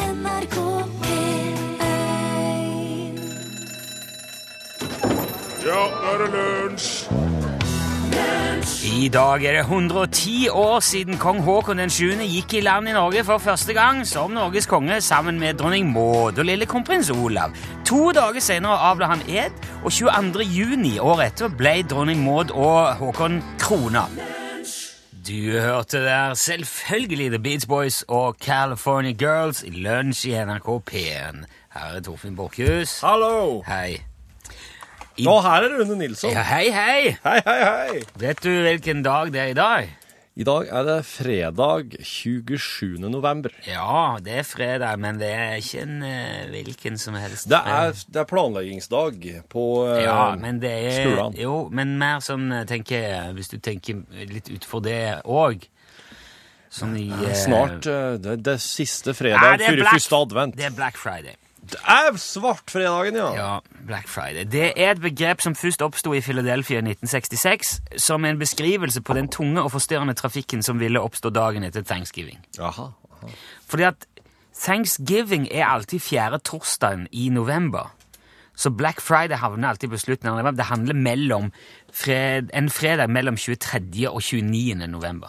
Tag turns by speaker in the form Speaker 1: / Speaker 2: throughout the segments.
Speaker 1: NRK P1
Speaker 2: Ja, nå er det lunsj!
Speaker 3: I dag er det 110 år siden kong Haakon den 7. gikk i land i Norge for første gang som Norges konge sammen med dronning Maud og lille kronprins Olav. To dager senere avla han ed, og 22. juni året etter ble dronning Maud og Haakon krona. Du hørte der selvfølgelig The Beach Boys og California Girls i lunsj i NRK P1. Her er Torfinn Borchhus.
Speaker 2: Hallo!
Speaker 3: Hei.
Speaker 2: Nå her er det Rune Nilsson.
Speaker 3: Ja, hei, hei!
Speaker 2: Hei, hei, hei!
Speaker 3: Vet du hvilken dag det er i dag?
Speaker 2: I dag er det fredag 27. november.
Speaker 3: Ja, det er fredag, men det er ikke en eh, hvilken som helst
Speaker 2: Det
Speaker 3: fredag.
Speaker 2: er, det er planleggingsdag på eh,
Speaker 3: ja, men det er,
Speaker 2: skolen.
Speaker 3: Jo, men mer sånn, eh, tenker jeg, hvis du tenker litt utenfor det òg Sånn i eh,
Speaker 2: Snart eh, det, det er siste
Speaker 3: Nei,
Speaker 2: fredag
Speaker 3: det er
Speaker 2: før
Speaker 3: Black-
Speaker 2: første advent.
Speaker 3: Det er Black Friday.
Speaker 2: Det er svartfredagen, ja!
Speaker 3: Ja, Black Friday. Det er et begrep som først oppsto i Philadelphia i 1966 som en beskrivelse på den tunge og forstyrrende trafikken som ville oppstå dagen etter thanksgiving.
Speaker 2: Aha.
Speaker 3: Fordi at Thanksgiving er alltid fjerde torsdagen i november. Så Black Friday havner alltid på slutten av november. Det handler mellom fred, en fredag mellom 23. og 29. november.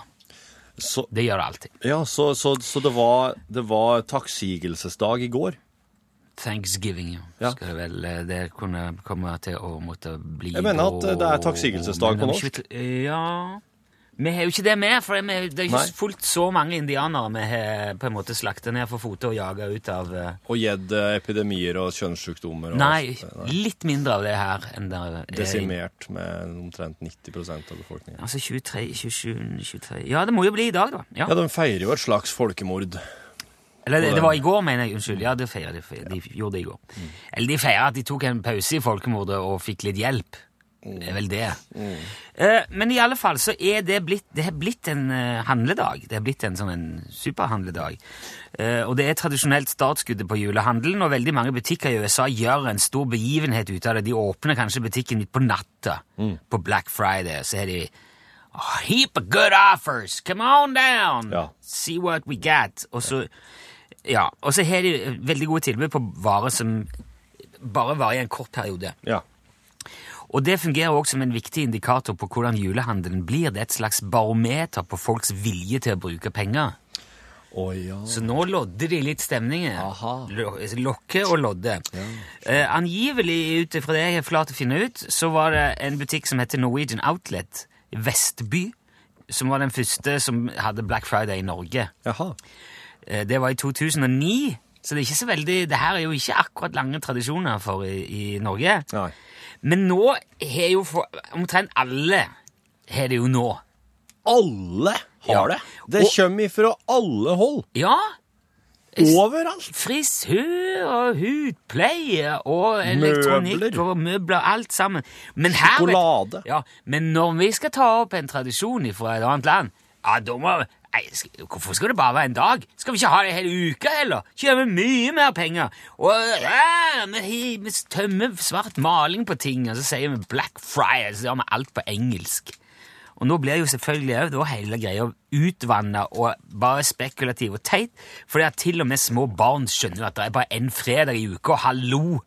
Speaker 2: Så,
Speaker 3: Det gjør det alltid.
Speaker 2: ja, så, så, så det var, det var takksigelsesdag i går.
Speaker 3: Thanksgiving, ja.
Speaker 2: Ja.
Speaker 3: Skal det vel eh, det kunne komme til å måtte bli
Speaker 2: Jeg mener at,
Speaker 3: da-
Speaker 2: eh, det er takksigelsesdag på
Speaker 3: mellom
Speaker 2: norsk.
Speaker 3: 23 Ja Vi har jo ikke det med, for vi, det er jo
Speaker 2: Nei.
Speaker 3: ikke fullt så mange indianere vi har eh, på en måte slakta ned for fote og jaga ut av eh,
Speaker 2: Og gitt eh, epidemier og kjønnssykdommer. Og
Speaker 3: Nei, litt mindre av det her enn det er i-
Speaker 2: Desimert med omtrent 90 av befolkningen.
Speaker 3: Altså 23, 27, 23 Ja, det må jo bli i dag, da. Ja.
Speaker 2: Ja, de feirer jo et slags folkemord.
Speaker 3: Eller det, det var i går, mener jeg. Unnskyld. Ja, det feirer de. feirer- De gjorde det i går. Eller de feirer at de tok en pause i folkemordet og fikk litt hjelp. Det er vel det. Eh, men i alle fall så er det blitt, det har blitt en eh, handledag. Det har blitt en sånn en superhandledag. Eh, og det er tradisjonelt startskuddet på julehandelen, og veldig mange butikker i USA gjør en stor begivenhet ut av det. De åpner kanskje butikken midt på natta på Black Friday, så har de A heap of good offers! Come on down!
Speaker 2: Ja.
Speaker 3: See what we got! Og så, ja, og så har de veldig gode tilbud på varer som bare varer i en kort periode.
Speaker 2: Ja.
Speaker 3: Og det fungerer også som en viktig indikator på hvordan julehandelen blir. Det er et slags barometer på folks vilje til å bruke penger.
Speaker 2: Å ja.
Speaker 3: Så nå lodder de litt stemninger.
Speaker 2: Aha.
Speaker 3: Lo- Lokke og lodde. Eh, angivelig, ut ifra det jeg har klart å finne ut, så var det en butikk som heter Norwegian Outlet i Vestby, som var den første som hadde Black Friday i Norge.
Speaker 2: Jaha.
Speaker 3: Eh, Det var i 2009, så det er ikke så veldig Det her er jo ikke akkurat lange tradisjoner for i, i Norge.
Speaker 2: Nei.
Speaker 3: Men nå har jo for, omtrent alle har det jo nå.
Speaker 2: Alle har
Speaker 3: Ja.
Speaker 2: det! Det
Speaker 3: Og-
Speaker 2: kommer ifra alle hold.
Speaker 3: Ja.
Speaker 2: Overalt.
Speaker 3: Frisør og hudpleie og elektronikk
Speaker 2: Møbler.
Speaker 3: og møbler, alt sammen. Men her,
Speaker 2: Sjokolade.
Speaker 3: Ja, men når vi skal ta opp en tradisjon fra et annet land, ja, da må Nei, sk- Hvorfor skal det bare være en dag? Skal vi ikke ha det hele uka heller? Tjener mye mer penger. Og ja, vi, hi- vi tømmer svart maling på ting, og så sier vi Black Friday, så gjør vi alt på engelsk. Og nå blir jo selvfølgelig også da hele greia utvanna og bare spekulativ og teit, fordi at til og med små barn skjønner jo at det er bare én fredag i uka, og hallo!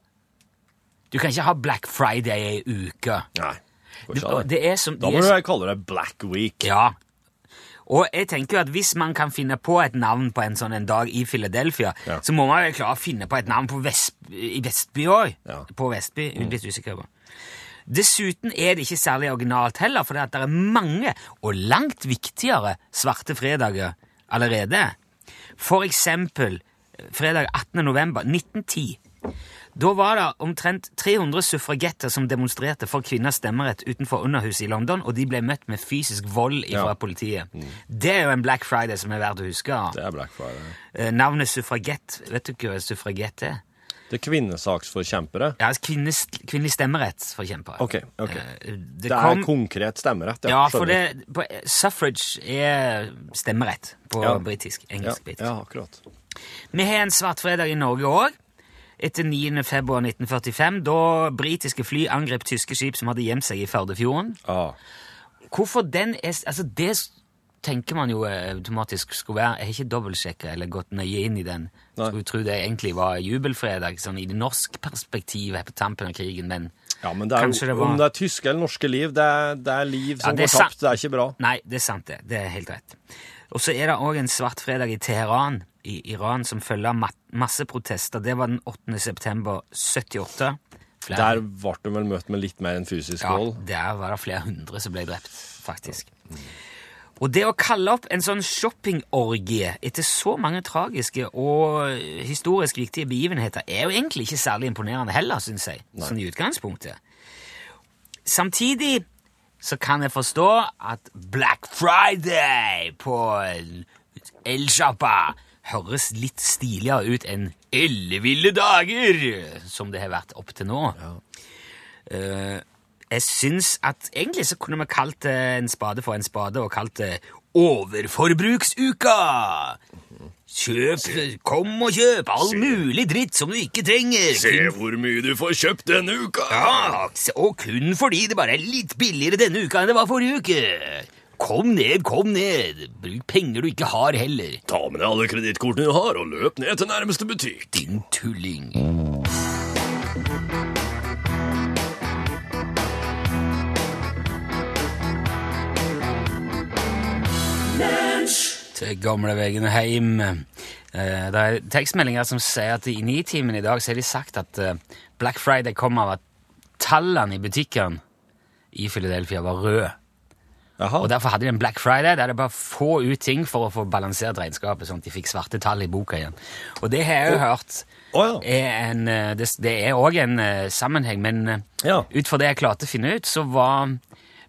Speaker 3: Du kan ikke ha Black Friday i uka.
Speaker 2: Nei. Går
Speaker 3: Det,
Speaker 2: ikke an,
Speaker 3: og
Speaker 2: det.
Speaker 3: det er som
Speaker 2: Da
Speaker 3: de er
Speaker 2: må du
Speaker 3: som-
Speaker 2: vel kalle det Black Week.
Speaker 3: Ja. Og jeg tenker jo at hvis man kan finne på et navn på en sånn en dag i Philadelphia,
Speaker 2: Ja.
Speaker 3: så må man vel klare å finne på et navn på Vest, i Vestby òg.
Speaker 2: Ja.
Speaker 3: På Vestby. Litt usikker på. Dessuten er det ikke særlig originalt heller, for det er mange, og langt viktigere, svarte fredager allerede. For eksempel eh, fredag 18. november 1910. Da var det omtrent 300 suffragetter som demonstrerte for kvinners stemmerett utenfor Underhuset i London, og de ble møtt med fysisk vold fra
Speaker 2: Ja. Mm.
Speaker 3: politiet. Det er jo en Black Friday som er verdt å huske.
Speaker 2: Det er Black Friday.
Speaker 3: Eh, Navnet suffragett Vet du hva suffragett er?
Speaker 2: Det er kvinnesaksforkjempere.
Speaker 3: Ja, altså kvinnes, kvinnelig stemmerett, for eksempel.
Speaker 2: Ok, ok.
Speaker 3: Eh, Det,
Speaker 2: Det,
Speaker 3: kom,
Speaker 2: er konkret stemmerett.
Speaker 3: Ja, for
Speaker 2: skjønner.
Speaker 3: det, på, eh, suffrage er stemmerett på
Speaker 2: Ja.
Speaker 3: britisk.
Speaker 2: ja,
Speaker 3: Engelsk-britisk.
Speaker 2: ja, akkurat.
Speaker 3: Vi har en svartfredag i Norge òg. Etter 9. februar 1945, da britiske fly angrep tyske skip som hadde gjemt seg i Førdefjorden.
Speaker 2: Ja.
Speaker 3: Hvorfor den er Altså, det tenker man jo eh, automatisk skulle være Jeg har ikke dobbeltsjekka eller gått nøye inn i den.
Speaker 2: Nei.
Speaker 3: Skulle tro det egentlig var jubelfredag sånn i det norsk perspektivet på tampen av krigen, men
Speaker 2: Ja, men det er
Speaker 3: Kanskje
Speaker 2: jo,
Speaker 3: det var-
Speaker 2: Om det er tyske eller norske liv, det er, det er liv som
Speaker 3: det er
Speaker 2: går tapt.
Speaker 3: sant.
Speaker 2: Det er ikke bra.
Speaker 3: Nei, det er sant, det. Det er helt rett. Og så er det òg en svart fredag i Teheran i Iran som følger ma masse protester. Det var den 8. september 78. Flere-
Speaker 2: Der ble de vel møtt med litt mer enn fysisk
Speaker 3: ja,
Speaker 2: vold.
Speaker 3: der var det flere hundre som ble drept, faktisk. Og det å kalle opp en sånn shoppingorgie etter så mange tragiske og historisk viktige begivenheter er jo egentlig ikke særlig imponerende heller, syns jeg, sånn i utgangspunktet. Samtidig så kan jeg forstå at Black Friday på Elkjappa høres litt stiligere ut enn Elleville dager, som det har vært opp til nå. Eh, jeg syns at egentlig så kunne vi kalt det en spade for en spade, og kalt det Overforbruksuka! Kjøp, kom og kjøp all mulig dritt som du ikke trenger. Kun,
Speaker 2: hvor mye du får kjøpt denne uka!
Speaker 3: ja, og kun fordi det bare er litt billigere denne uka enn det var forrige uke. Kom ned, kom ned. Bruk penger du ikke har heller.
Speaker 2: Ta med deg alle kredittkortene du har, og løp ned til nærmeste butikk.
Speaker 3: Din tulling. Til gamlevegen heim. Eh, Det er tekstmeldinger som sier at i Nitimen i dag så har de sagt at eh, Black Friday kom av at tallene i butikkene i Philadelphia var røde.
Speaker 2: Jaha.
Speaker 3: Og Derfor hadde de en Black Friday der det bare få ut ting for å få balansert regnskapet, sånn at de fikk svarte tall i boka igjen. Og det har jeg jo hørt
Speaker 2: Å, ja.
Speaker 3: er en, eh, det, det er òg en eh, sammenheng, men eh,
Speaker 2: Ja.
Speaker 3: ut fra det jeg klarte å finne ut, så var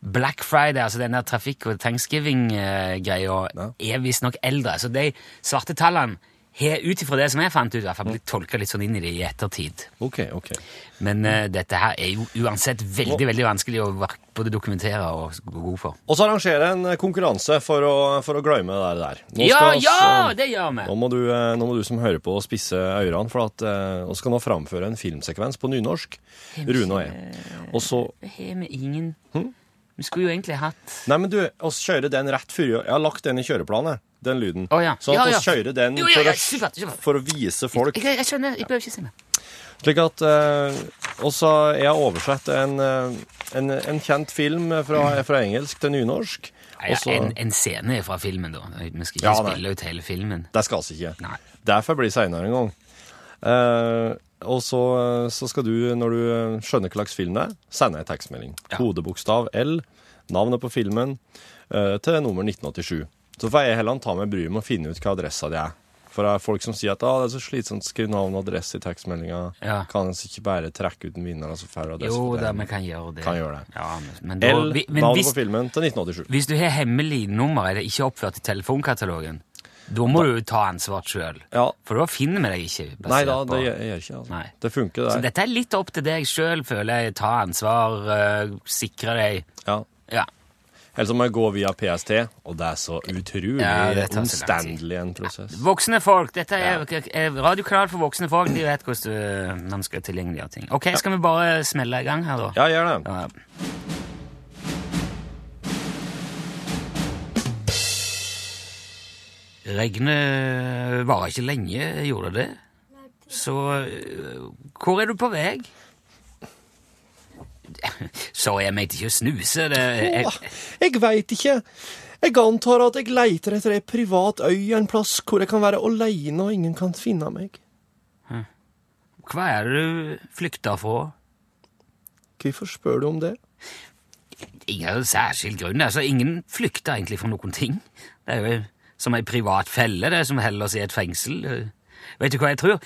Speaker 3: Black Friday, altså den der trafikk- og thanksgiving-greia, er visstnok eldre. Så de svarte tallene har ut ifra det som jeg fant ut, i hvert fall
Speaker 2: Mm.
Speaker 3: blitt tolka litt sånn inn i det i ettertid.
Speaker 2: Ok, ok.
Speaker 3: Men
Speaker 2: Mm.
Speaker 3: eh, dette her er jo uansett veldig, veldig vanskelig å verk- både dokumentere og gå god for.
Speaker 2: Og så arrangerer jeg en konkurranse for å, for å glemme det der. Nå
Speaker 3: Ja,
Speaker 2: skal oss,
Speaker 3: ja,
Speaker 2: eh,
Speaker 3: det gjør vi!
Speaker 2: Nå må, du, eh, nå må du som hører på spisse ørene, for at eh, vi skal nå framføre en filmsekvens på nynorsk. Rune og jeg. Og så
Speaker 3: Det har vi ingen.
Speaker 2: Hm?
Speaker 3: Vi skulle jo egentlig hatt
Speaker 2: Nei, men du, oss kjører den rett før Jeg har lagt den i kjøreplanen, den lyden.
Speaker 3: Å, ja.
Speaker 2: Sånn at
Speaker 3: Ja, ja.
Speaker 2: oss kjører den
Speaker 3: Jo, ja, ja,
Speaker 2: for,
Speaker 3: supert,
Speaker 2: å,
Speaker 3: supert.
Speaker 2: for å vise folk.
Speaker 3: Jeg, jeg skjønner, jeg behøver ikke si mer.
Speaker 2: Slik at eh, også jeg har oversett en, eh, en, en kjent film fra, fra engelsk til nynorsk.
Speaker 3: Ja,
Speaker 2: og så-
Speaker 3: en, en scene fra filmen, da. Vi skal ikke
Speaker 2: Ja, nei.
Speaker 3: spille ut hele filmen.
Speaker 2: Det skal vi ikke.
Speaker 3: Nei.
Speaker 2: Derfor blir det seinere en gang. Eh, og så, så skal du, når du eh, skjønner hva slags film det er, sende en tekstmelding.
Speaker 3: Ja.
Speaker 2: Kodebokstav L, navnet på filmen, eh, til nummer 1987. Så får jeg heller ta meg bryet med å finne ut hva adressa di er. For det er folk som sier at ah, det er så slitsomt å skrive navn og adresse i tekstmeldinga.
Speaker 3: Ja.
Speaker 2: Kan en ikke bare trekke ut en vinner, altså, og så får du adresse
Speaker 3: Jo
Speaker 2: på
Speaker 3: da,
Speaker 2: den?
Speaker 3: vi kan gjøre det.
Speaker 2: sånn Kan gjøre det.
Speaker 3: Ja, men, men da,
Speaker 2: L,
Speaker 3: vi, men
Speaker 2: navnet
Speaker 3: hvis,
Speaker 2: på filmen, til 1987.
Speaker 3: hvis du har hemmelig nummer eller ikke oppført i telefonkatalogen, da må du jo ta ansvar sjøl.
Speaker 2: Ja.
Speaker 3: For da finner vi deg ikke. basert
Speaker 2: Nei da,
Speaker 3: på-
Speaker 2: det gjør jeg gjør ikke altså.
Speaker 3: Nei.
Speaker 2: Det funker,
Speaker 3: Så
Speaker 2: det.
Speaker 3: dette er litt opp til deg sjøl, føler jeg. Ta ansvar, eh, sikre deg.
Speaker 2: Ja.
Speaker 3: Ja.
Speaker 2: Eller så må jeg gå via PST, og det er så utrolig
Speaker 3: Ja, det tar så lang tid.
Speaker 2: omstendelig en prosess.
Speaker 3: Voksne folk. Dette er, er radiokanal for voksne folk. De vet hvordan øh, man skal tilgjengeliggjøre ting. Ok, skal vi bare smelle i gang her, da?
Speaker 2: Ja, gjør det.
Speaker 3: Ja. Regnet varer ikke lenge, gjorde det? Så øh, hvor er du på vei? Sorry, jeg mente ikke å snuse. Det, jeg,
Speaker 1: Åh, jeg veit ikke. Jeg antar at jeg leiter etter ei privat øy en plass hvor jeg kan være aleine og ingen kan finne meg.
Speaker 3: hva er det du flykter fra?
Speaker 1: Hvorfor spør du om det?
Speaker 3: Ingen særskilt grunn. altså Ingen flykter egentlig fra noen ting. Det er jo som ei privat felle, det er som heller oss i et fengsel. Vet du hva jeg tror?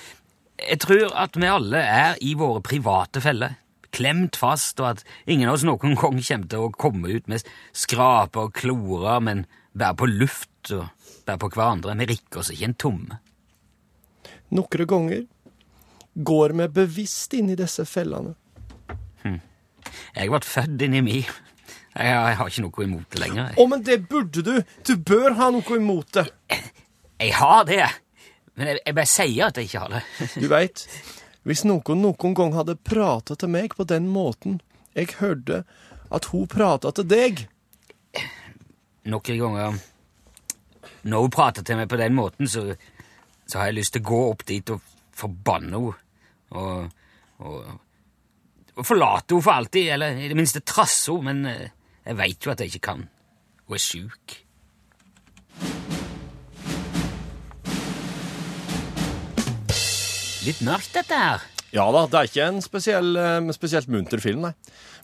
Speaker 3: Jeg tror at vi alle er i våre private feller. Klemt fast, og at ingen av oss noen gang kommer til å komme ut med skraper og klorer, men bare på luft og bare på hverandre. Vi rikker oss ikke en tomme.
Speaker 1: Noen ganger går vi bevisst inn i disse fellene.
Speaker 3: Jeg ble født inni mi. Jeg har jeg har ikke noe imot det lenger. jeg.
Speaker 1: Å, men det burde du! Du bør ha noe imot det.
Speaker 3: Jeg har det, men jeg, jeg bare sier at jeg ikke har det.
Speaker 1: Du veit, hvis noen noen gang hadde prata til meg på den måten jeg hørte at hun prata til deg
Speaker 3: Noen ganger når hun prater til meg på den måten, så, så har jeg lyst til å gå opp dit og forbanne henne. Og, og, og forlate henne for alltid, eller i det minste trasse henne, men eh, jeg veit jo at jeg ikke kan. Hun er sjuk. Litt mørkt, dette her.
Speaker 2: Ja da, det er ikke en spesiell, eh, spesielt munter film, nei.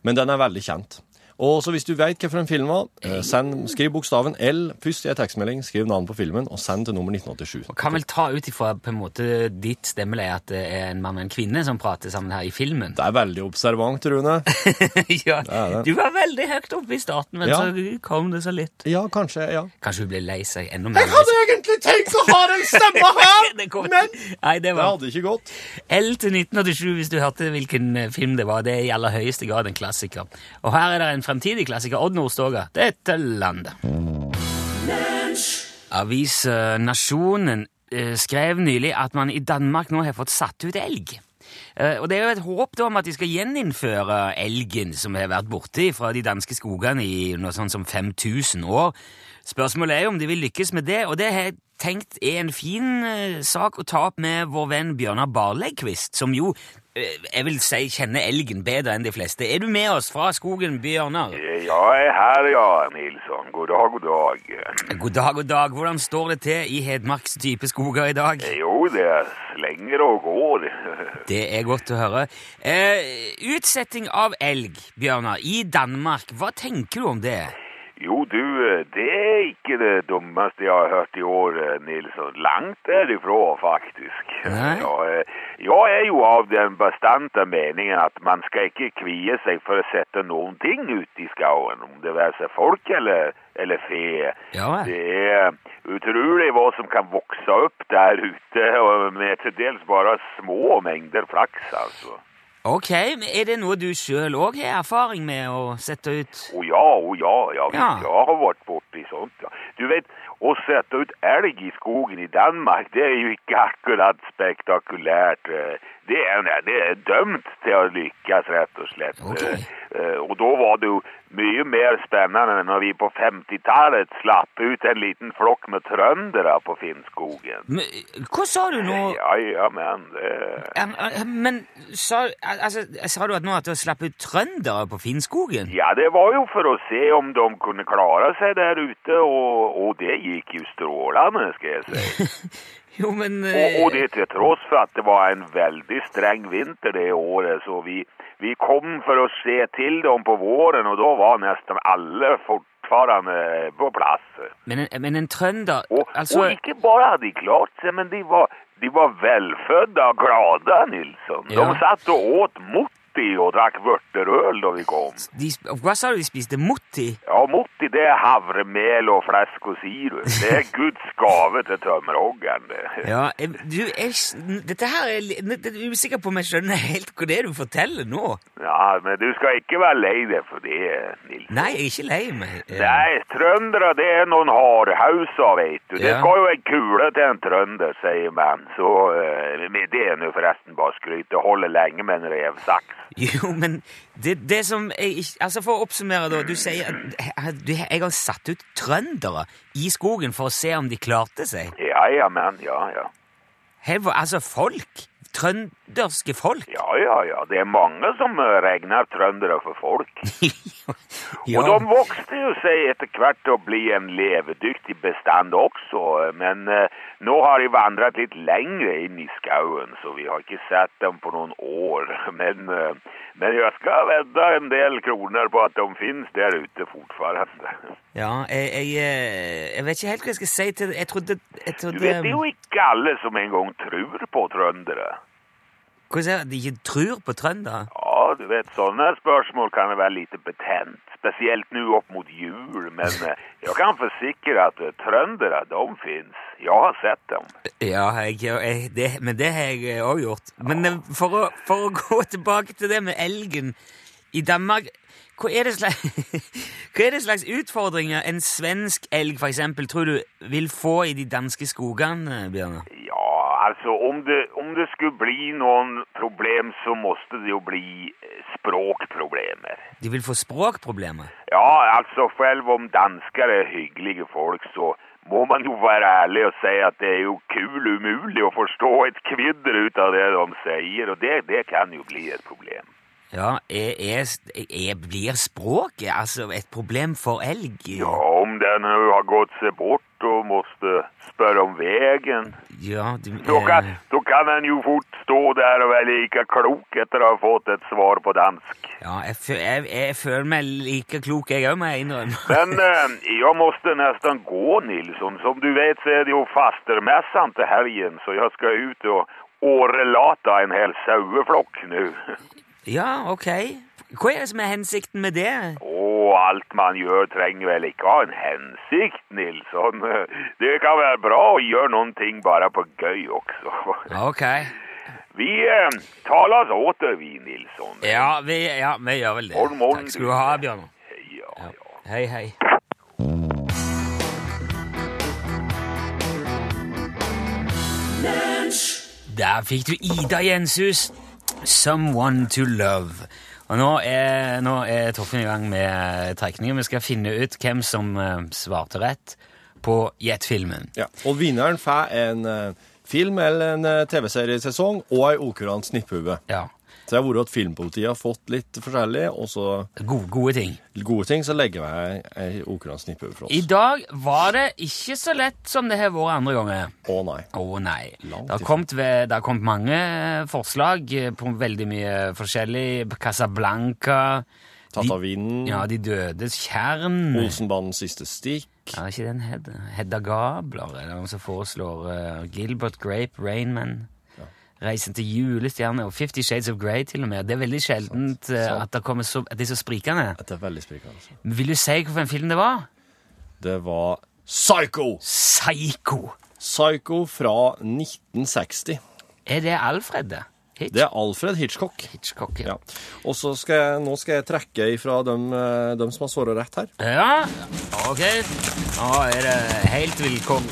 Speaker 2: Men den er veldig kjent. Og så hvis du vet hvilken film var, eh, send, skriv bokstaven L først i en tekstmelding, skriv navnet på filmen, og send til nummer 1987.
Speaker 3: Kan vel ta ut ifra på en måte ditt stemmeleie at det er en mann og en kvinne som prater sammen her i filmen.
Speaker 2: Det er veldig observant, Rune.
Speaker 3: ja,
Speaker 2: er det.
Speaker 3: Du var veldig høyt oppe i starten, men
Speaker 2: Ja.
Speaker 3: så kom det så litt.
Speaker 2: Ja, kanskje, ja.
Speaker 3: Kanskje hun ble lei seg enda mer.
Speaker 2: egentlig tenkt å ha den stemma
Speaker 3: Det går- Nei, det
Speaker 2: Det
Speaker 3: var
Speaker 2: hadde ikke gått.
Speaker 3: L til 1987, hvis du hørte hvilken eh, film det var. Det er i aller høyeste grad en klassiker. Og her er det en fremtidig klassiker, Odd Nordstoga. Dette landet. Avisnasjonen eh, skrev nylig at man i Danmark nå har fått satt ut elg. Eh, Og det er jo et håp da om at de skal gjeninnføre elgen som har vært borte fra de danske skogene i noe sånn som 5000 år. Spørsmålet er jo om de vil lykkes med det, og det har jeg tenkt er en fin eh, sak å ta opp med vår venn Bjørnar Barlegkvist, som jo, eh, jeg vil si, kjenner elgen bedre enn de fleste. Er du med oss fra skogen, Bjørnar?
Speaker 4: Eh, Jeg er her, ja, Nilsson. God dag, god dag.
Speaker 3: God dag, god dag. Hvordan står det til i Hedmarks dype skoger i dag?
Speaker 4: Eh, Jo, det slenger og går.
Speaker 3: Det er godt å høre. Eh, utsetting av elg, Bjørnar, i Danmark. Hva tenker du om det?
Speaker 4: Jo, du, eh, det er ikke det dummeste jeg har hørt i år, eh, Nilsson. Langt derifra, faktisk.
Speaker 3: Nei.
Speaker 4: Ja, eh, jeg er jo av den bestandte meningen at man skal ikke kvie seg for å sette noen ting ut i skauen, om det være seg folk eller, eller fe.
Speaker 3: Ja vel.
Speaker 4: Det er utrolig hva som kan vokse opp der ute, og med til dels bare små mengder flaks, altså.
Speaker 3: Ok, men er det noe du sjøl òg har erfaring med å sette ut?
Speaker 4: Å ja, å ja, ja, visst,
Speaker 3: Ja.
Speaker 4: jeg har vært borti sånt, ja. Du vet, å sette ut elg i skogen i Danmark, det er jo ikke akkurat spektakulært. eh. Det er, nei, det er dømt til å lykkes, rett og slett.
Speaker 3: Ok.
Speaker 4: Eh, eh, Og da var det jo mye mer spennende når vi på 50-tallet slapp ut en liten flokk med trøndere på Finnskogen.
Speaker 3: Men, hva sa du nå?
Speaker 4: Ja, ja, men det...
Speaker 3: Em, eh, Men sa, al- altså, sa du at nå at du har slapp ut trøndere på Finnskogen?
Speaker 4: Ja, det var jo for å se om de kunne klare seg der ute, og, og det gikk jo strålende, skal jeg si.
Speaker 3: Jo, men
Speaker 4: Og,
Speaker 3: eh,
Speaker 4: og det til tross for at det var en veldig streng vinter det året, så vi, vi kom for å se til dem på våren, og da var nesten alle fortfarande på plass.
Speaker 3: men, en- men en trønder
Speaker 4: Og,
Speaker 3: Altså
Speaker 4: og ikke bare hadde de klart seg, men de var, de var velfødde og glade, Nilsson.
Speaker 3: Ja.
Speaker 4: De satt og åt motti og drakk vørterøl da vi kom.
Speaker 3: de, sp- Hva sa du de spiste? Motti?
Speaker 4: Ja, Motti, det er havremel og flesk og sirup. Det er Guds gave til tømmerhoggeren. det.
Speaker 3: Ja, eh, du, jeg, dette her er, li- jeg er usikker på om jeg skjønner helt hva det er du forteller nå.
Speaker 4: Ja, men du skal ikke være lei deg for det, Nils.
Speaker 3: Nei, jeg er ikke lei meg. Eh,
Speaker 4: Nei, trøndere, det er noen hardhauser, vet du. Det
Speaker 3: Ja.
Speaker 4: skal jo en kule til en trønder, sier man. Så eh, men det er nå forresten bare skryt. Det holder lenge med en revsaks.
Speaker 3: Jo, men det, det som jeg ikke Altså, for å oppsummere, da. Du sier at eh, du, jeg har satt ut trøndere i skogen for å se om de klarte seg.
Speaker 4: Ja, ja, men, ja, ja.
Speaker 3: Her var altså folk. Trønderske folk.
Speaker 4: Ja, ja, ja. Det er mange som eh, regner trøndere for folk.
Speaker 3: Ja.
Speaker 4: Og de vokste jo seg etter hvert til å bli en levedyktig bestand også, men eh, nå har de vandret litt lengre inn i skauen, så vi har ikke sett dem på noen år. Men, eh, men jeg skal vedde en del kroner på at de finnes der ute fortfarande.
Speaker 3: ja jeg, jeg, eh, jeg vet ikke helt hva jeg skal si til det. Jeg trodde, jeg
Speaker 4: Du
Speaker 3: trodde
Speaker 4: vet, det er jo ikke alle som en gang tror på trøndere.
Speaker 3: Hvordan er det? De ikke tror på trøndere?
Speaker 4: Ja, du vet, sånne spørsmål kan være litt betent, spesielt nå opp mot jul, men eh, jeg kan forsikre at eh, trøndere, de finnes. Jeg har sett dem.
Speaker 3: Ja, jeg, jeg, det, men det har jeg òg gjort. Men eh, for å, for å gå tilbake til det med elgen i Danmark Hva er det slags, hva er det slags utfordringer en svensk elg for eksempel, tror du vil få i de danske skogene, Bjørnar?
Speaker 4: Ja, altså om det, om det skulle bli noen problem, så måtte det jo bli eh, språkproblemer.
Speaker 3: De vil få språkproblemer.
Speaker 4: Ja, altså selv om dansker er hyggelige folk, så må man jo være ærlig og si at det er jo kul umulig å forstå et kvidder ut av det de sier, og det, det kan jo bli et problem.
Speaker 3: Ja, er, er, er, blir språket altså et problem for elg?
Speaker 4: Ja, om den nu har gått seg bort og måste spørre om vägen,
Speaker 3: Ja, du,
Speaker 4: då kan,
Speaker 3: eh,
Speaker 4: då kan han ju fort stå där och vara lika klok efter att ha fått ett svar på dansk.
Speaker 3: ja jeg, fø- jeg, jeg føler meg like klok, jeg òg, må jeg innrømme.
Speaker 4: Men eh, jag måste nästan gå, Nilsson. Som du vet så är det ju fastermässan till helgen, så jag ska ut och årelata en hel saueflock nu.
Speaker 3: Ja, ok. Hva er det som er hensikten med det?
Speaker 4: Åh, allt man gör tränger väl inte ha en hänsikt, Nilsson. Det kan vara bra att göra någonting bara på göj också.
Speaker 3: Ok.
Speaker 4: Vi eh, talas åter vi, Nilsson.
Speaker 3: Ja, vi, ja, vi gjør vel det.
Speaker 4: Morgen, morgen,
Speaker 3: Takk skal du ha, Bjørnar.
Speaker 4: Ja, ja.
Speaker 3: Hei, hei. Der fikk du Ida Jenshus, 'Someone to Love'. Og nå er, nå er Torfinn i gang med trekningen. Vi skal finne ut hvem som eh, svarte rett på Jet-filmen.
Speaker 2: Ja. Og vinneren får en eh, film eller en eh, TV-seriesesong og ei okurant snipphue.
Speaker 3: Ja,
Speaker 2: Så jeg har vært at filmpolitiet har fått litt forskjellig, og så
Speaker 3: gode, gode ting.
Speaker 2: gode ting, så legger jeg ei okurant snipphue for
Speaker 3: I
Speaker 2: oss.
Speaker 3: dag var det ikke så lett som det har vært andre ganger.
Speaker 2: Å nei.
Speaker 3: Å nei.
Speaker 2: Langt
Speaker 3: Det har,
Speaker 2: ifra.
Speaker 3: kommet ved, det har kommet mange forslag eh, på veldig mye forskjellig. Casablanca
Speaker 2: Tatt av
Speaker 3: de,
Speaker 2: vinden.
Speaker 3: Ja, De dødes kjern.
Speaker 2: Olsenbanens siste stikk.
Speaker 3: Ja, Er ikke den Hedda, Hedda Gabler? Er det noen som foreslår eh, Gilbert Grape, Rainman? Reisen til julestjerne og Fifty Shades of Grey til og med. Det er veldig sjeldent eh,
Speaker 2: sant.
Speaker 3: at, det kommer så, at de er så sprikende.
Speaker 2: Dette er veldig sprikende. altså.
Speaker 3: Vil du si hvilken film det var?
Speaker 2: Det var Psycho!
Speaker 3: Psycho!
Speaker 2: Psycho fra 1960.
Speaker 3: Er det Alfred? det? Hitch-
Speaker 2: Det er Alfred Hitchcock.
Speaker 3: Hitchcock, ja.
Speaker 2: Ja. Og så skal jeg, nå skal jeg trekke ifra dem, eh, dem som har svaret rett her.
Speaker 3: Ja, ok. Nå er det helt velkommen.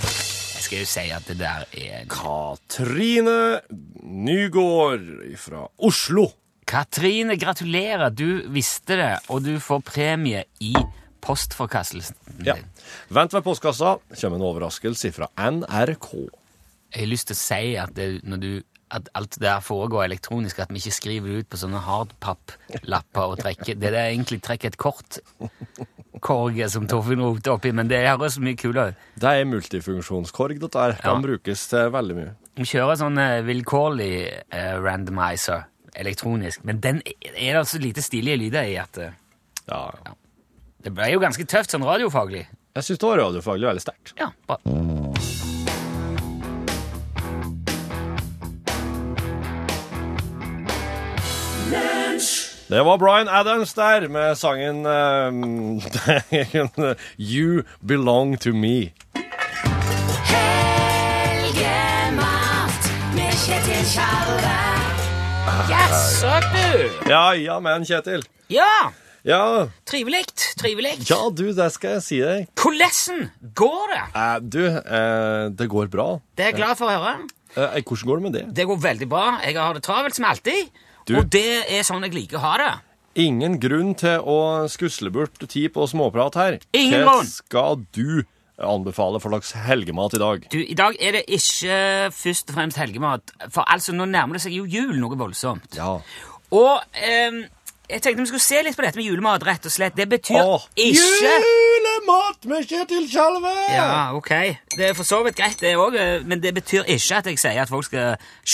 Speaker 3: Jeg skal jo si at det der er
Speaker 2: Katrine Nygård fra Oslo.
Speaker 3: Katrine, gratulerer. Du visste det, og du får premie i postforkastelsen din.
Speaker 2: Ja. Vent ved postkassa. Kommer en overraskelse fra NRK.
Speaker 3: Jeg har lyst til å si at, det, når du, at alt det der foregår elektronisk, at vi ikke skriver det ut på sånne hardpapplapper og trekker. Det er egentlig trekker et kort korge som Torfinn roter oppi, men det høres mye kulere ut.
Speaker 2: Det er multifunksjonskorg. Dette her kan
Speaker 3: Ja.
Speaker 2: brukes til veldig mye.
Speaker 3: Vi kjører sånn eh, vilkårlig eh, randomizer elektronisk, men den er er det så lite stilige lyder i at eh,
Speaker 2: Ja.
Speaker 3: det ble jo ganske tøft sånn radiofaglig.
Speaker 2: Jeg syns det var radiofaglig veldig sterkt.
Speaker 3: Ja, bra.
Speaker 2: Det var Bryan Adams der med sangen eh, You Belong To Me.
Speaker 5: Helgemat med Kjetil Tjalve.
Speaker 3: Jaså, du!
Speaker 2: Ja, ja, men Kjetil.
Speaker 3: Ja,
Speaker 2: Ja,
Speaker 3: trivelig, trivelig.
Speaker 2: ja du, det skal jeg si deg.
Speaker 3: Hvordan går det?
Speaker 2: Eh, du, eh, det går bra.
Speaker 3: Det er jeg glad for å høre.
Speaker 2: Eh, hvordan går det med det?
Speaker 3: Det går veldig bra. Jeg har det travelt som alltid,
Speaker 2: Du-
Speaker 3: og det er sånn jeg liker å ha det.
Speaker 2: Ingen grunn til å skusle bort tid på småprat her.
Speaker 3: Ingen
Speaker 2: Hva
Speaker 3: grunn.
Speaker 2: skal du anbefale for slags helgemat i dag?
Speaker 3: Du, I dag er det ikke først og fremst helgemat, for altså, nå nærmer det seg jo jul noe voldsomt.
Speaker 2: Ja.
Speaker 3: Og ehm, jeg tenkte vi skulle se litt på dette med julemat, rett og slett. Det betyr
Speaker 2: Åh,
Speaker 3: ikke
Speaker 2: Julemat med Kjetil Tjalve!
Speaker 3: Ja, ok. Det er for så vidt greit, det òg, men det betyr ikke at jeg sier at folk skal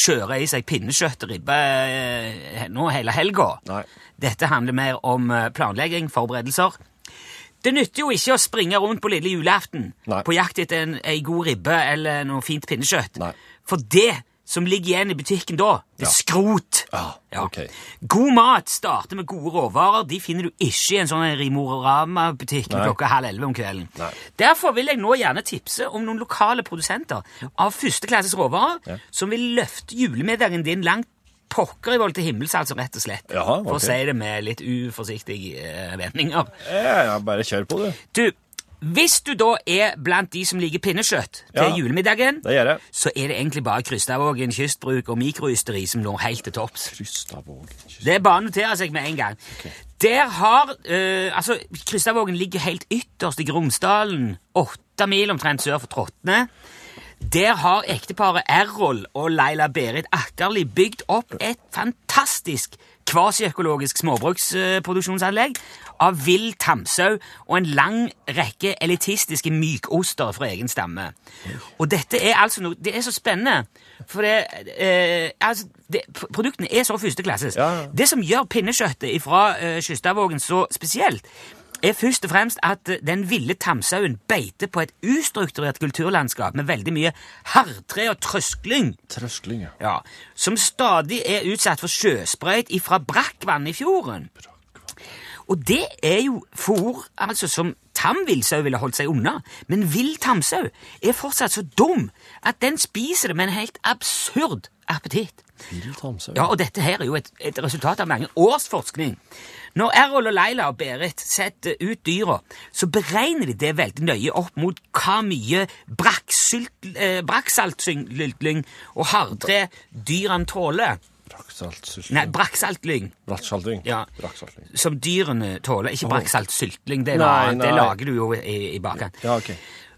Speaker 3: kjøre i seg pinnekjøtt og ribbe eh, nå hele helga.
Speaker 2: Nei.
Speaker 3: Dette handler mer om eh, planlegging, forberedelser. Det nytter jo ikke å springe rundt på lille julaften
Speaker 2: Nei.
Speaker 3: på jakt etter en, ei god ribbe eller noe fint pinnekjøtt.
Speaker 2: Nei.
Speaker 3: For det som ligger igjen i butikken da, det er skrot.
Speaker 2: Ja, ok.
Speaker 3: God mat starter med gode råvarer. De finner du ikke i en sånn Rimorama-butikk
Speaker 2: Nei.
Speaker 3: klokka halv elleve om kvelden.
Speaker 2: Nei.
Speaker 3: Derfor vil jeg nå gjerne tipse om noen lokale produsenter av førsteklasses råvarer
Speaker 2: Ja.
Speaker 3: som vil løfte julemiddagen din langt pokker i vold til himmels, altså, rett og slett.
Speaker 2: Jaha,
Speaker 3: For å
Speaker 2: ok.
Speaker 3: si det med litt uforsiktige eh, vendinger.
Speaker 2: Ja, ja, bare kjør på, du.
Speaker 3: Du, Hvis du da er blant de som liker pinnekjøtt til
Speaker 2: Ja.
Speaker 3: julemiddagen,
Speaker 2: Det gjør jeg.
Speaker 3: så er det egentlig bare Krystavågen kystbruk og mikrojusteri som når helt til topps.
Speaker 2: Rystavåg.
Speaker 3: Det er bare å notere seg med en gang. Der har eh, Altså, Krystavågen ligger helt ytterst i Gromsdalen, åtte mil omtrent sør for Tråtne. Der har ekteparet Errol og Leila Berit Akkerli bygd opp et fantastisk kvasiøkologisk småbruksproduksjonsanlegg av vill tamsau og en lang rekke elitistiske mykoster fra egen stamme. Og dette er altså noe Det er så spennende, for det, eh, altså, det, p- produktene er så førsteklasses.
Speaker 2: Ja, ja.
Speaker 3: Det som gjør pinnekjøttet fra eh, Kystadvågen så spesielt, er først og fremst at eh, den ville tamsauen beiter på et ustrukturert kulturlandskap med veldig mye hardtre og trøskling,
Speaker 2: Trøskling, ja.
Speaker 3: ja, som stadig er utsatt for sjøsprøyt ifra brakkvann i fjorden. Og det er jo fôr altså, som tamvillsau ville holdt seg unna, men vill tamsau er fortsatt så dum at den spiser det med en helt absurd appetitt.
Speaker 2: Vill Tromsø.
Speaker 3: Ja, og dette her er jo et, et resultat av mange års forskning. Når Errol og Leila og Berit setter ut dyra, så beregner de det veldig nøye opp mot hva mye brakksylt- eh, brakksaltlyng og hardtre dyrene tåler. Nei,
Speaker 2: Braksaltsyssel.
Speaker 3: brakksaltlyng.
Speaker 2: Brattsalting.
Speaker 3: Ja.
Speaker 2: Brattsalting.
Speaker 3: Som dyrene tåler. Ikke brakksaltsyltling, det, er noe
Speaker 2: Nei,
Speaker 3: annet. det
Speaker 2: nei.
Speaker 3: lager du jo i, i bakkant.
Speaker 2: Ja, ok.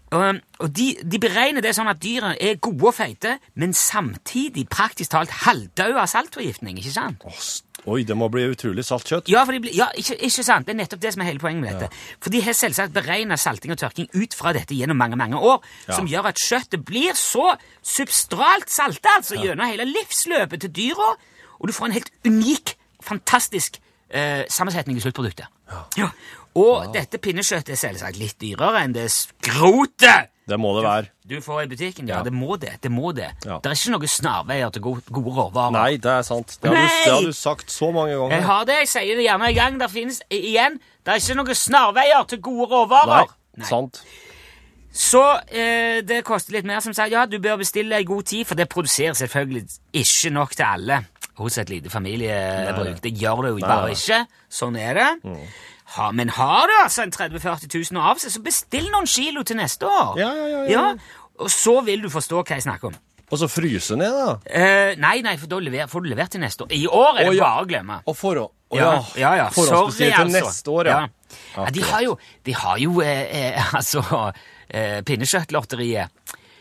Speaker 3: Um, og de, de beregner det sånn at dyra er gode og feite, men samtidig praktisk talt halvdaue av saltforgiftning. ikke sant?
Speaker 2: Åh, s- Oi, det må bli utrolig salt kjøtt.
Speaker 3: Ja, for de blir, ja ikke, ikke sant? Det er nettopp det som er hele poenget med dette. For de har selvsagt beregna salting og tørking ut fra dette gjennom mange mange år, som gjør at kjøttet blir så substralt salta altså, gjennom hele livsløpet til dyra, og du får en helt unik, fantastisk eh, sammensetning i sluttproduktet. Ja. Og dette pinnekjøttet er selvsagt litt dyrere enn det skrotet
Speaker 2: Det må det være.
Speaker 3: du får i butikken. Ja,
Speaker 2: Ja.
Speaker 3: det må det. Det må det.
Speaker 2: Ja.
Speaker 3: Det er ikke noen snarveier til gode, gode råvarer.
Speaker 2: Nei, det er sant. Det har, du,
Speaker 3: Nei!
Speaker 2: det har du sagt så mange
Speaker 3: Jeg
Speaker 2: ganger.
Speaker 3: har det, jeg sier det gjerne i gang. Der finnes i- igjen. Det er ikke noen snarveier til gode råvarer. Nei.
Speaker 2: Sant.
Speaker 3: Så eh, det koster litt mer, som sagt. Ja, du bør bestille i god tid, for det produserer selvfølgelig ikke nok til alle hos et lite familiebruk. Det gjør det jo bare
Speaker 2: nei. Mm.
Speaker 3: ikke. Sånn er det. Ha, men har du altså en 30 000-40 000 av seg, så bestill noen kilo til neste år.
Speaker 2: Ja, ja, ja, ja.
Speaker 3: og så vil du forstå hva jeg snakker om.
Speaker 2: Og så fryse ned, da.
Speaker 3: Eh, nei, nei, for da lever, får du levert til neste år. I år er det
Speaker 2: Å, ja.
Speaker 3: bare å glemme.
Speaker 2: Og forhånd... Å,
Speaker 3: Ja, ja, ja. Sorry,
Speaker 2: Forhåndsbestilt til
Speaker 3: altså.
Speaker 2: neste år, ja.
Speaker 3: Ja. Ja, de har jo, de har jo eh, eh, altså, eh, pinnekjøttlotteriet.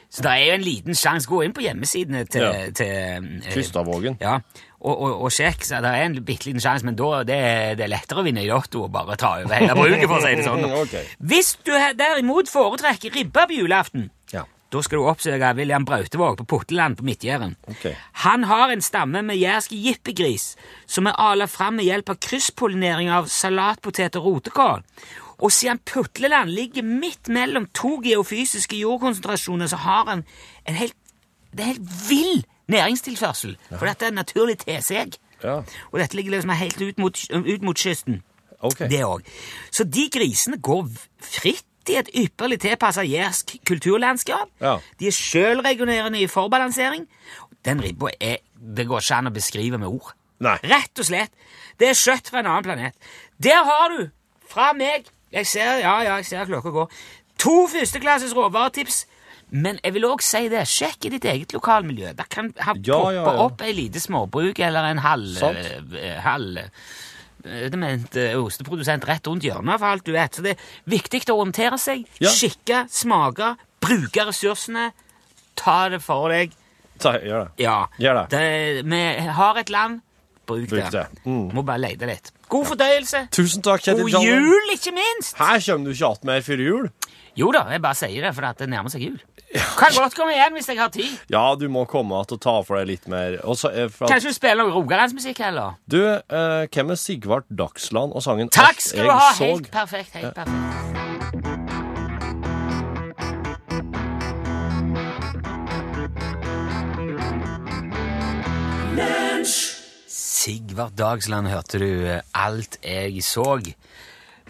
Speaker 3: Så det er jo en liten sjanse. Gå inn på hjemmesidene til,
Speaker 2: Ja.
Speaker 3: til eh,
Speaker 2: Kystavågen.
Speaker 3: Ja, og, og, og sjekk. Så det er en bitte liten sjanse, men da det, er- det er lettere å vinne i lotto og bare ta over hele bruket, for å si det sånn.
Speaker 2: Ok.
Speaker 3: Hvis du he- derimot foretrekker ribba på julaften,
Speaker 2: Ja.
Speaker 3: da skal du oppsøke William Brautevåg på Potteland på Midtjæren.
Speaker 2: Ok.
Speaker 3: Han har en stamme med jærsk jippegris som er ala fram med hjelp av krysspollinering av salatpotet og rotekål. Og siden Putleland ligger midt mellom to geofysiske jordkonsentrasjoner, så har han en helt, det er helt vill næringstilførsel. For dette er naturlig teseg.
Speaker 2: Ja.
Speaker 3: Og dette ligger liksom helt ut mot, ut mot kysten.
Speaker 2: Ok.
Speaker 3: Det òg. Så de grisene går v- fritt i et ypperlig tilpassa jærsk kulturlandskap.
Speaker 2: Ja.
Speaker 3: De er sjølregulerende i forbalansering. Den ribba er Det går ikke an å beskrive med ord.
Speaker 2: Nei.
Speaker 3: Rett og slett. Det er kjøtt fra en annen planet. Der har du, fra meg Jeg ser ja, ja, jeg ser klokka går. To førsteklasses råvaretips. Men jeg vil òg si det, sjekk i ditt eget lokalmiljø. Der kan ha
Speaker 2: Ja, ja,
Speaker 3: poppe
Speaker 2: ja.
Speaker 3: opp ei lite småbruk eller en halv...
Speaker 2: Sant.
Speaker 3: eh, halv eh, det mente eh, osteprodusent rett rundt hjørnet, for alt du vet. Så det er viktig å orientere seg,
Speaker 2: Ja.
Speaker 3: skikke, smake, bruke ressursene. Ta det for deg.
Speaker 2: Ta, gjør det.
Speaker 3: Ja.
Speaker 2: Gjør det.
Speaker 3: Vi har et land. Bruk,
Speaker 2: Bruk det. Mm.
Speaker 3: Må bare lete litt. God fordøyelse.
Speaker 2: Tusen takk, Kjetil
Speaker 3: God
Speaker 2: Jallen.
Speaker 3: jul, ikke minst!
Speaker 2: Her kommer du ikke att mer før jul.
Speaker 3: Jo da, jeg bare sier det, for at det nærmer seg jul. Kan godt komme igjen hvis jeg har tid.
Speaker 2: Ja, du må komme att og ta for deg litt mer. Og så, eh, for at-
Speaker 3: Kanskje du spiller noe rogalandsmusikk heller.
Speaker 2: du, eh, hvem er Sigvart Dagsland og sangen
Speaker 3: Takk
Speaker 2: Alt
Speaker 3: skal du
Speaker 2: jeg
Speaker 3: ha!
Speaker 2: såg?
Speaker 3: Helt perfekt. helt perfekt. Sigvard Dagsland hørte du eh, alt jeg såg.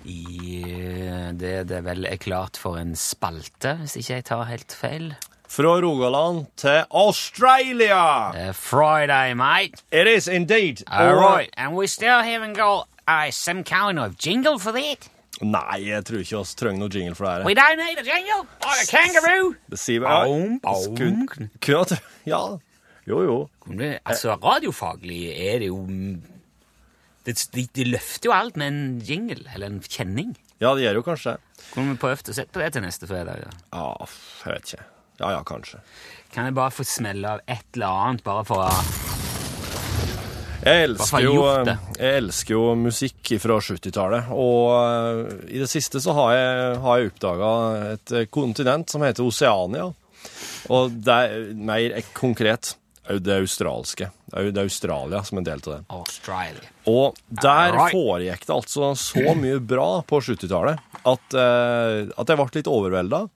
Speaker 3: I eh, det det vel er klart for en spalte, hvis ikke jeg tar helt feil.
Speaker 2: Fra Rogaland til Australia!
Speaker 3: Eh, Friday, mate.
Speaker 2: It is indeed.
Speaker 3: All
Speaker 2: Og-
Speaker 3: eh, right, and we still haven't got uh, some kind of jingle for that.
Speaker 2: Nei, jeg tror ikke oss trenger noe jingle for det her.
Speaker 3: We don't need a jingle or a kangaroo.
Speaker 2: Det sier vi. Kun- kun at- Ja. Jo, jo.
Speaker 3: Men, Altså, radiofaglig er det jo mm, det, de, de løfter jo alt med en jingle eller en kjenning.
Speaker 2: Ja, det gjør jo kanskje det.
Speaker 3: Kunne vi prøvd å sette på det til neste fredag? Ja.
Speaker 2: Ja, f- jeg vet ikke. Ja ja, kanskje.
Speaker 3: Kan jeg bare få smelle av et eller annet, bare for å
Speaker 2: Jeg
Speaker 3: Hva faen
Speaker 2: elsker jo, eh,
Speaker 3: gjort det?
Speaker 2: jeg elsker jo musikk fra 70-tallet, og eh, i det siste så har jeg, har jeg oppdaga et eh, kontinent som heter Oseania. Og det er mer ek- konkret au- det australske. Au- Det er Australia som en del av det.
Speaker 3: Australia?
Speaker 2: Og der
Speaker 3: Alright.
Speaker 2: foregikk det altså så mye bra på 70-tallet at, eh, at jeg ble litt overvelda.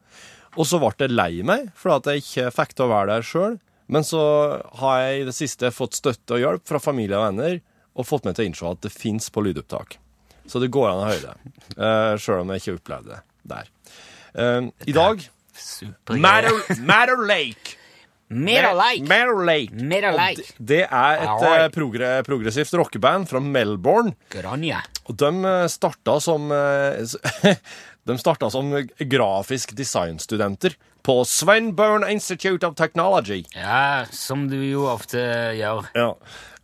Speaker 2: Og så ble jeg lei meg for at jeg ikke fikk til å være der sjøl. Men så har jeg i det siste fått støtte og hjelp fra familie og venner og fått meg til å innse at det fins på lydopptak. Så det går an å høre det, uh, sjøl om jeg ikke opplevde det der. Eh, I dag
Speaker 3: Super
Speaker 2: Matter Lake.
Speaker 3: Middle Lake.
Speaker 2: Matter Lake.
Speaker 3: Middle
Speaker 2: Og
Speaker 3: Lake.
Speaker 2: det- Det er et eh,
Speaker 3: Alright.
Speaker 2: progre progressivt rockeband fra Melbourne.
Speaker 3: Grønja.
Speaker 2: Og de eh, starta som eh, s- De starta som grafisk designstudenter på Swinburne Institute of Technology.
Speaker 3: Ja, som du jo ofte gjør.
Speaker 2: Ja.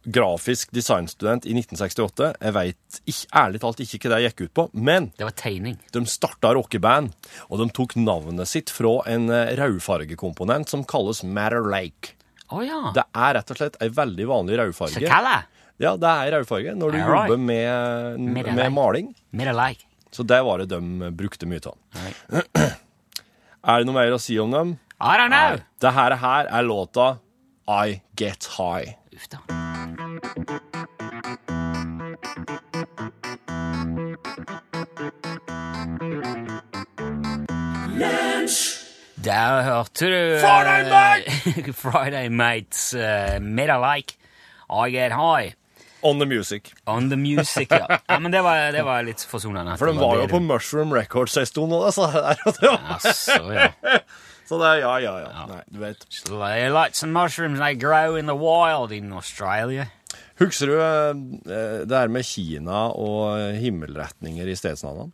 Speaker 2: Grafisk designstudent i 1968. Jeg veit ærlig talt ikke hva det gikk ut på, men
Speaker 3: Det var tegning.
Speaker 2: de starta rockeband, og de tok navnet sitt fra en eh, rødfargekomponent som kalles Matter Lake.
Speaker 3: Å ja.
Speaker 2: Det er rett og slett ei veldig vanlig
Speaker 3: Så
Speaker 2: rødfarge.
Speaker 3: kall det
Speaker 2: Ja, det er rødfarge når du
Speaker 3: Alright.
Speaker 2: jobber med,
Speaker 3: Matter
Speaker 2: med
Speaker 3: Lake.
Speaker 2: maling.
Speaker 3: Middle Lake.
Speaker 2: Så det var det de brukte mye av. Er det noe mer å si om dem?
Speaker 3: I don't know.
Speaker 2: Det her, her er låta I Get High.
Speaker 3: Uff da. Der hørte du eh,
Speaker 2: Friday
Speaker 3: Friday Mates eh, Metal Like I Get High
Speaker 2: On the Music.
Speaker 3: On The Music. Ja, ja men det var, det var litt forsonende. at
Speaker 2: For
Speaker 3: det
Speaker 2: den var jo
Speaker 3: det
Speaker 2: på
Speaker 3: du-
Speaker 2: Mushroom Records en stund nå, da, så det er jo
Speaker 3: Altså, ja.
Speaker 2: Så det er ja, ja, ja. Nei, du vet.
Speaker 3: They like some eh, mushrooms they grow in the wild in Australia.
Speaker 2: Husker du eh, det her med Kina og himmelretninger i stedsnavnene?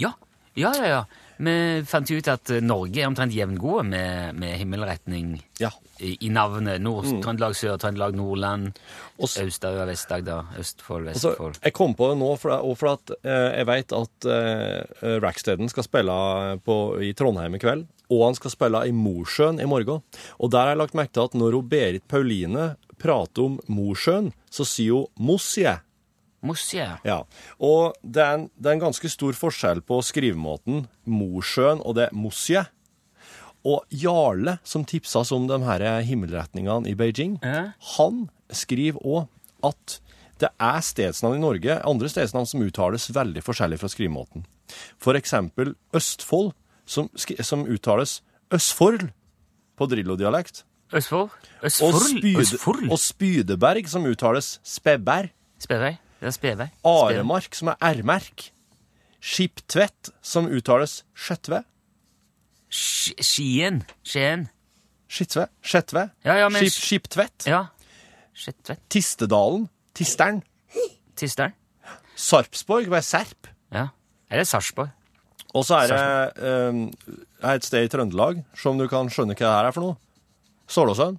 Speaker 3: Ja, ja, ja. ja. Vi fant jo ut at eh, Norge er omtrent jevngode med, med himmelretning
Speaker 2: Ja. Mm.
Speaker 3: i, i navnet. Nord-Trøndelag, Sør-Trøndelag, Nordland,
Speaker 2: Og s-
Speaker 3: Aust-Agder, Vest-Agder, Østfold,
Speaker 2: Altså,
Speaker 3: Vestfold.
Speaker 2: jeg kom på det nå, for, og for at eh, jeg vet at eh, Racksteden skal spille på, i Trondheim i kveld, og han skal spille i Mosjøen i morgen. Og der har jeg lagt merke til at når hun Berit Pauline prater om Mosjøen, så sier hun Mosje.
Speaker 3: Mosje.
Speaker 2: Ja. Og det er, en, det er en ganske stor forskjell på skrivemåten Mosjøen og det Mosje. Og Jarle, som tipsa oss om de her himmelretningene i Beijing,
Speaker 3: Ja.
Speaker 2: han skriver òg at det er stedsnavn i Norge, andre stedsnavn som uttales veldig forskjellig fra skrivemåten. For eksempel Østfold, som, skri- som uttales Østfold på drillo-dialekt.
Speaker 3: Østfold?
Speaker 2: Og,
Speaker 3: Østfold?
Speaker 2: Spyde-
Speaker 3: Østfold?
Speaker 2: og Spydeberg, som uttales Speberg.
Speaker 3: Spedberg? Det er Spedberg. Spedberg.
Speaker 2: Aremark, som er R-merk. Skiptvedt, som uttales Skjetve.
Speaker 3: Sk- Skien. Skien.
Speaker 2: Skitve. Skjetve.
Speaker 3: Ja, ja, men-
Speaker 2: Skip, Skiptvedt.
Speaker 3: Ja. Skjetvedt.
Speaker 2: Tistedalen. Tisteren.
Speaker 3: Tisteren.
Speaker 2: Sarpsborg, hva er Serp?
Speaker 3: Ja. Eller Sarpsborg.
Speaker 2: Og så er det eh, et sted i Trøndelag, som du kan skjønne hva det her er for noe. Solåsøen.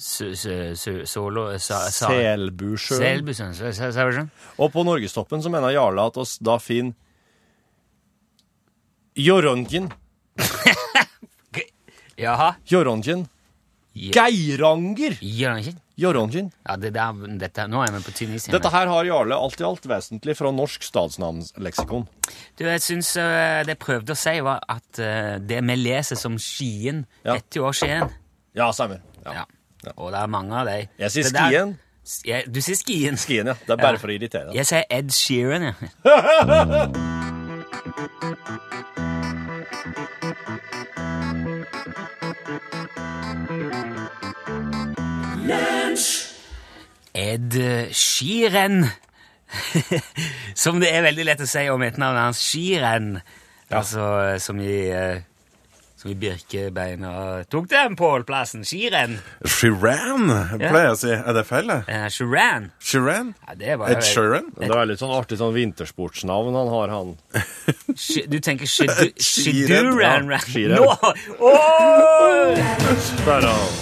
Speaker 3: Su- su- su- Solo sa- sa-
Speaker 2: Selbusjøen.
Speaker 3: Selbusøen. Sa- sa- Sauersund.
Speaker 2: Og på Norgestoppen så mener Jarle at oss da finner Jorongen.
Speaker 3: Jaha.
Speaker 2: Jorongen.
Speaker 3: Ja.
Speaker 2: Geiranger!
Speaker 3: Gjør han ikke?
Speaker 2: Jorongen.
Speaker 3: Ja, det der, dette, nå er vi på tynn is. igjen.
Speaker 2: Dette her har Jarle alt i alt vesentlig fra norsk statsnavnsleksikon.
Speaker 3: Du, jeg syns eh, det jeg prøvde å si, var at eh, det vi leser som Skien,
Speaker 2: Ja.
Speaker 3: heter jo også Skien.
Speaker 2: Ja, stemmer. Ja.
Speaker 3: Ja. Og det er mange av dem.
Speaker 2: Jeg sier
Speaker 3: Det der-
Speaker 2: Skien.
Speaker 3: S- jeg- Du sier Skien.
Speaker 2: Skien, ja. Det er bare
Speaker 3: Ja.
Speaker 2: for å irritere. deg.
Speaker 3: Jeg sier Ed Sheeran, jeg. Ed Sheeran. som det er veldig lett å si om et navn hans. Sheeran. Altså, som i eh, Som i Birkebeina tok den pålplassen. Skirenn.
Speaker 6: Shiran, pleier jeg å si. Er det feil, det?
Speaker 3: Eh, Shiran.
Speaker 6: Shiran?
Speaker 3: Ja, det var jo-
Speaker 6: Ed Sheeran?
Speaker 2: Det er litt sånn artig sånn vintersportsnavn han har, han.
Speaker 3: Sh- Du tenker
Speaker 6: Skirenn,
Speaker 3: Shiduran
Speaker 2: ja, skirenn.
Speaker 3: Nå! Åh!
Speaker 2: Der, han.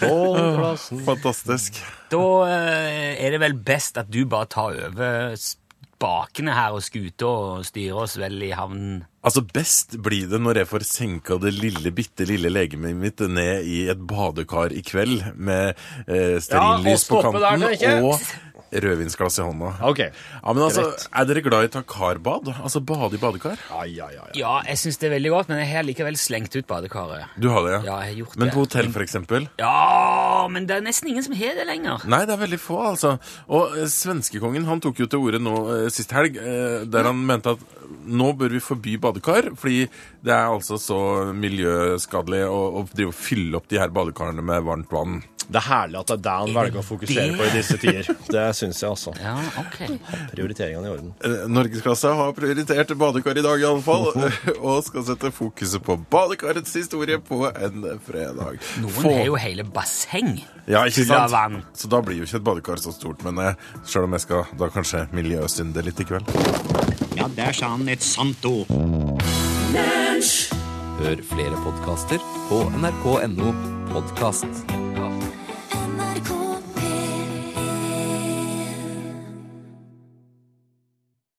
Speaker 2: Pålplassen.
Speaker 6: Fantastisk.
Speaker 3: Da eh, er det vel best at du bare tar over spakene her og skuta og styrer oss vel i havnen.
Speaker 6: Altså, best blir det når jeg får senka det lille, bitte lille legemet mitt ned i et badekar i kveld med eh,
Speaker 2: Ja,
Speaker 6: stearinlys på
Speaker 2: og stoppe der,
Speaker 6: kanten
Speaker 2: tenker jeg.
Speaker 6: og rødvinsglass i hånda.
Speaker 2: OK.
Speaker 6: Ja, men altså,
Speaker 2: Greit.
Speaker 6: Er dere glad i takarbad? Altså bade i badekar?
Speaker 2: Ai, ai, ai.
Speaker 3: Ja, jeg syns det er veldig godt, men jeg har likevel slengt ut badekaret.
Speaker 6: Du har det, ja?
Speaker 3: Ja, jeg har gjort
Speaker 6: men
Speaker 3: det.
Speaker 6: på hotell, for eksempel?
Speaker 3: Ja, men det er nesten ingen som har det lenger.
Speaker 6: Nei, det er veldig få, altså. Og eh, svenskekongen han tok jo til orde nå eh, sist helg, eh, der han mente at nå bør vi forby badekar, fordi det er altså så miljøskadelig å, å drive og fylle opp de her badekarene med varmt vann.
Speaker 2: Det er herlig at det er det han velger å fokusere på i disse tider. Det syns jeg, altså.
Speaker 3: Ja, ok.
Speaker 2: Prioriteringene i orden.
Speaker 6: Eh, Norgesklasse har prioritert badekar i dag, iallfall, og skal sette fokuset på badekarets historie på en fredag.
Speaker 3: Noen
Speaker 6: Få-
Speaker 3: har jo hele basseng.
Speaker 6: ja, ikke
Speaker 3: full av
Speaker 6: sant?
Speaker 3: vann.
Speaker 6: Så da blir jo ikke et badekar så stort, men sjøl om jeg skal da kanskje miljøsynde litt i kveld.
Speaker 7: Ja, der sa han et sant ord.
Speaker 8: Hør flere podkaster på nrk.no podkast.